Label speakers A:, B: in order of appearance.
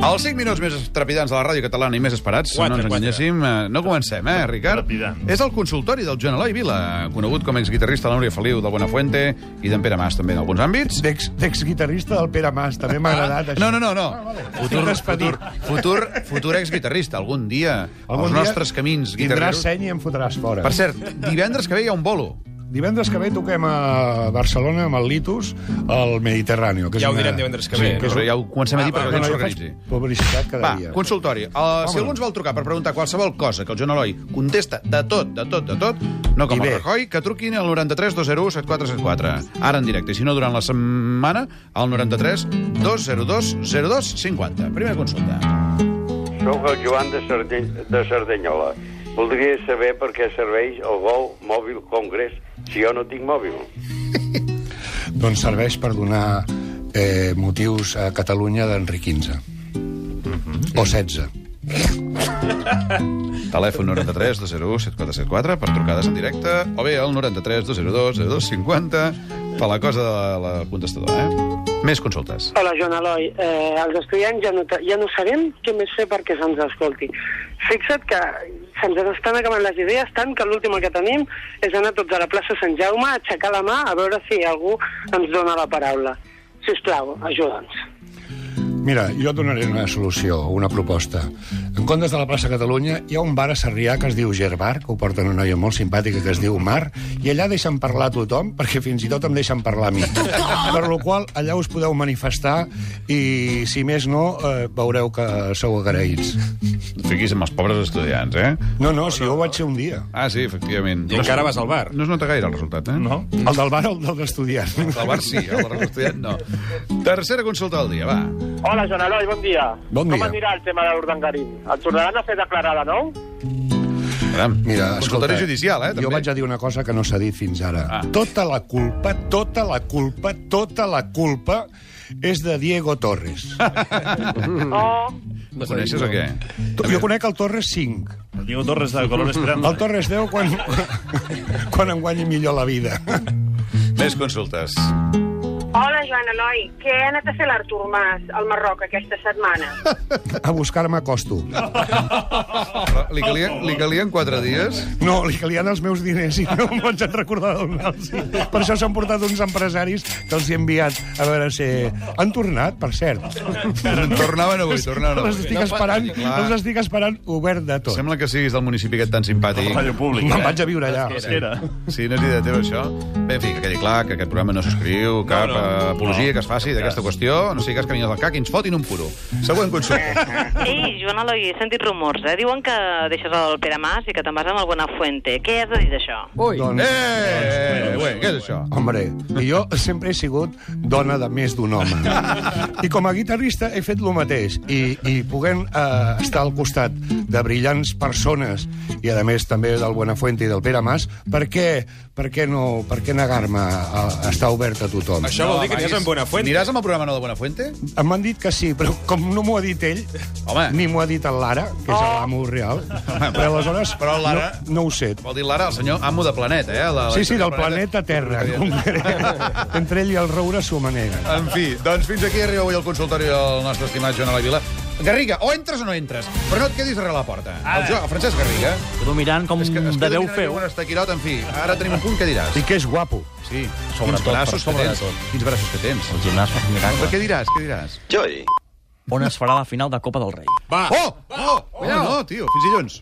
A: Els 5 minuts més trepidants de la ràdio catalana i més esperats,
B: Quatre,
A: no ens
B: quatre.
A: enganyéssim, eh, no comencem, eh, Ricard?
C: Trepidant.
A: És el consultori del Joan Eloi Vila, conegut com a exguitarrista de la Núria Feliu, del Buenafuente i d'en Pere Mas, també, en alguns àmbits.
D: D'ex- D'exguitarrista del Pere Mas, també m'ha agradat això.
A: Ah. No, no, no, no.
D: Ah, vale. Estic
A: Futur, futur,
D: despedit.
A: futur, futur exguitarrista, algun dia,
D: Algun
A: als
D: dia
A: nostres camins
D: Tindràs
A: guitarreros.
D: seny i em fotràs fora.
A: Per cert, divendres que ve hi ha un bolo.
D: Divendres que ve toquem a Barcelona amb el Litus al Mediterràneo. Que és
B: Ja ho
D: una-
B: direm divendres que ve.
D: Sí, que és
A: Però
D: un...
A: ja ho comencem a dir perquè la gent
D: Bueno, Ah, jo faig
A: s'organitzi.
D: publicitat cada
A: Va,
D: dia.
A: consultori. Uh, si algú ens vol trucar per preguntar qualsevol cosa que el Joan Eloi contesta de tot, de tot, de tot, no com
D: I
A: el
D: bé.
A: Rajoy, que truquin al 93 201 7474. Ara en directe, i si no durant la setmana, al 93 202 0250. Primera consulta.
E: Sóc el Joan de, Sardeny, de Cerdanyola. Voldria saber per què serveix el Gol Mòbil Congress si jo no tinc mòbil.
D: Doncs serveix per donar eh, motius a Catalunya d'Enric XV.
A: Mhm.
D: O 16.
A: Telèfon 93 201 7474 per trucades en directe o bé al 93 202 0250 per la cosa de la, la contestadora, eh? Més consultes.
F: Hola, Joan Eloi. Eh, els estudiants ja no, te- ja no sabem què més fer perquè se'ns escolti. Fixa't que se'ns estan acabant les idees tant que l'última que tenim és anar tots a la plaça Sant Jaume a aixecar la mà a veure si algú ens dona la paraula. Si us plau, ajuda'ns.
D: Mira, jo et donaré una solució, una proposta. En comptes de la plaça Catalunya hi ha un bar a Sarrià que es diu Gerbar, que ho porta una noia molt simpàtica que es diu Mar, i allà deixen parlar a tothom, perquè fins i tot em deixen parlar a mi. Per lo qual, allà us podeu manifestar i, si més no, eh, veureu que sou agraïts.
A: No fiquis amb els pobres estudiants, eh?
D: No, no, si jo ho vaig ser un dia.
A: Ah, sí, efectivament.
B: I encara vas al bar.
A: No es nota gaire el resultat, eh?
C: No?
D: El del bar o el del estudiant?
A: El bar sí, el bar estudiant no. Tercera consulta del dia, va.
G: Hola, Joan Eloi, bon dia.
D: Bon dia.
G: Com anirà el tema de l'Urdangarín? El tornaran a fer declarar de nou?
A: Caram,
D: Mira,
A: consultori
D: escolta,
A: judicial, eh?
D: Jo vaig a dir una cosa que no s'ha dit fins ara.
A: Ah.
D: Ah. Tota la culpa, tota la culpa, tota la culpa és de Diego Torres.
G: Oh,
A: No coneixes o què?
D: Tu- jo conec el Torres 5.
C: El Diego Torres de Color Esperanza.
D: El Torres 10 quan, quan em guanyi millor la vida.
A: Més consultes.
H: Hola, Joan Eloi. Què ha anat a fer l'Artur Mas al Marroc aquesta setmana?
D: A buscar-me acosto.
A: Oh, Però Li calien, li calien quatre dies?
D: No, li calien els meus diners i no em vaig recordar d'on-los. Per això s'han portat uns empresaris que els he enviat a veure si... Han tornat, per cert.
A: Tornaven avui, tornaven
D: Els
A: avui.
D: estic esperant,
A: clar.
D: els estic esperant obert de tot.
A: Sembla que siguis del municipi aquest tan simpàtic.
C: Ràdio Pública.
D: Me'n vaig a viure allà.
C: Pesquera.
A: Sí, no és idea teva, això. Bé, en fi, que quedi clar que aquest programa no s'escriu cap no,
B: no.
A: apologia que es faci d'aquesta qüestió. No sigui que es camini del cac i ens fotin un puro. Següent consulta.
I: Ei, Joan Eloi, he sentit rumors, eh? Diuen que deixes el Pere Mas i que te'n vas amb el Buenafuente. Què has de dir d'això?
A: Eh,
D: Doncs,
A: eh, eh, què és això?
D: Hombre, i jo sempre he sigut dona de més d'un home. I com a guitarrista he fet lo mateix. I, i podent eh, estar al costat de brillants persones, i a més també del Buenafuente i del Pere Mas, per què, per què, no, per què negar-me a, a estar obert a tothom?
B: Això vol dir
D: Ah,
B: que aniràs amb Buenafuente.
A: Aniràs amb el programa no de Buenafuente?
D: Em van dit que sí, però com no m'ho ha dit ell,
A: Home.
D: ni m'ho ha dit el Lara, que és l'amo real, però aleshores
A: Però el Lara-
D: no, no ho sé.
A: Vol dir l'ara el senyor amo de planeta, eh? La, la
D: Sí, sí,
A: història
D: del planeta Terra, en concret. Entre ell i el Roure s'ho maneguen.
A: En fi, doncs fins aquí arriba avui el consultori del nostre estimat Joan Eloi Vila. Garriga, o entres o no entres, però no et quedis darrere la porta. El, jo, el Francesc Garriga...
J: Però mirant com
A: És que,
J: Ah. de
A: es queda
J: veu
A: mirant
J: feu.
A: diuen, "Està Quirot", en fi, ara tenim un punt que diràs.
D: I que és guapo.
A: Sí, quins
J: Sobretot,
A: braços
J: per
A: que
J: sobre
A: tens.
J: de tot.
A: Quins braços que tens.
J: El gimnàs fa un
A: Però
J: miracle.
A: què diràs, què diràs?
E: Joy.
J: On es farà la final de Copa del Rei.
B: Va.
A: Oh! Oh! Oh, no, tio, fins dilluns.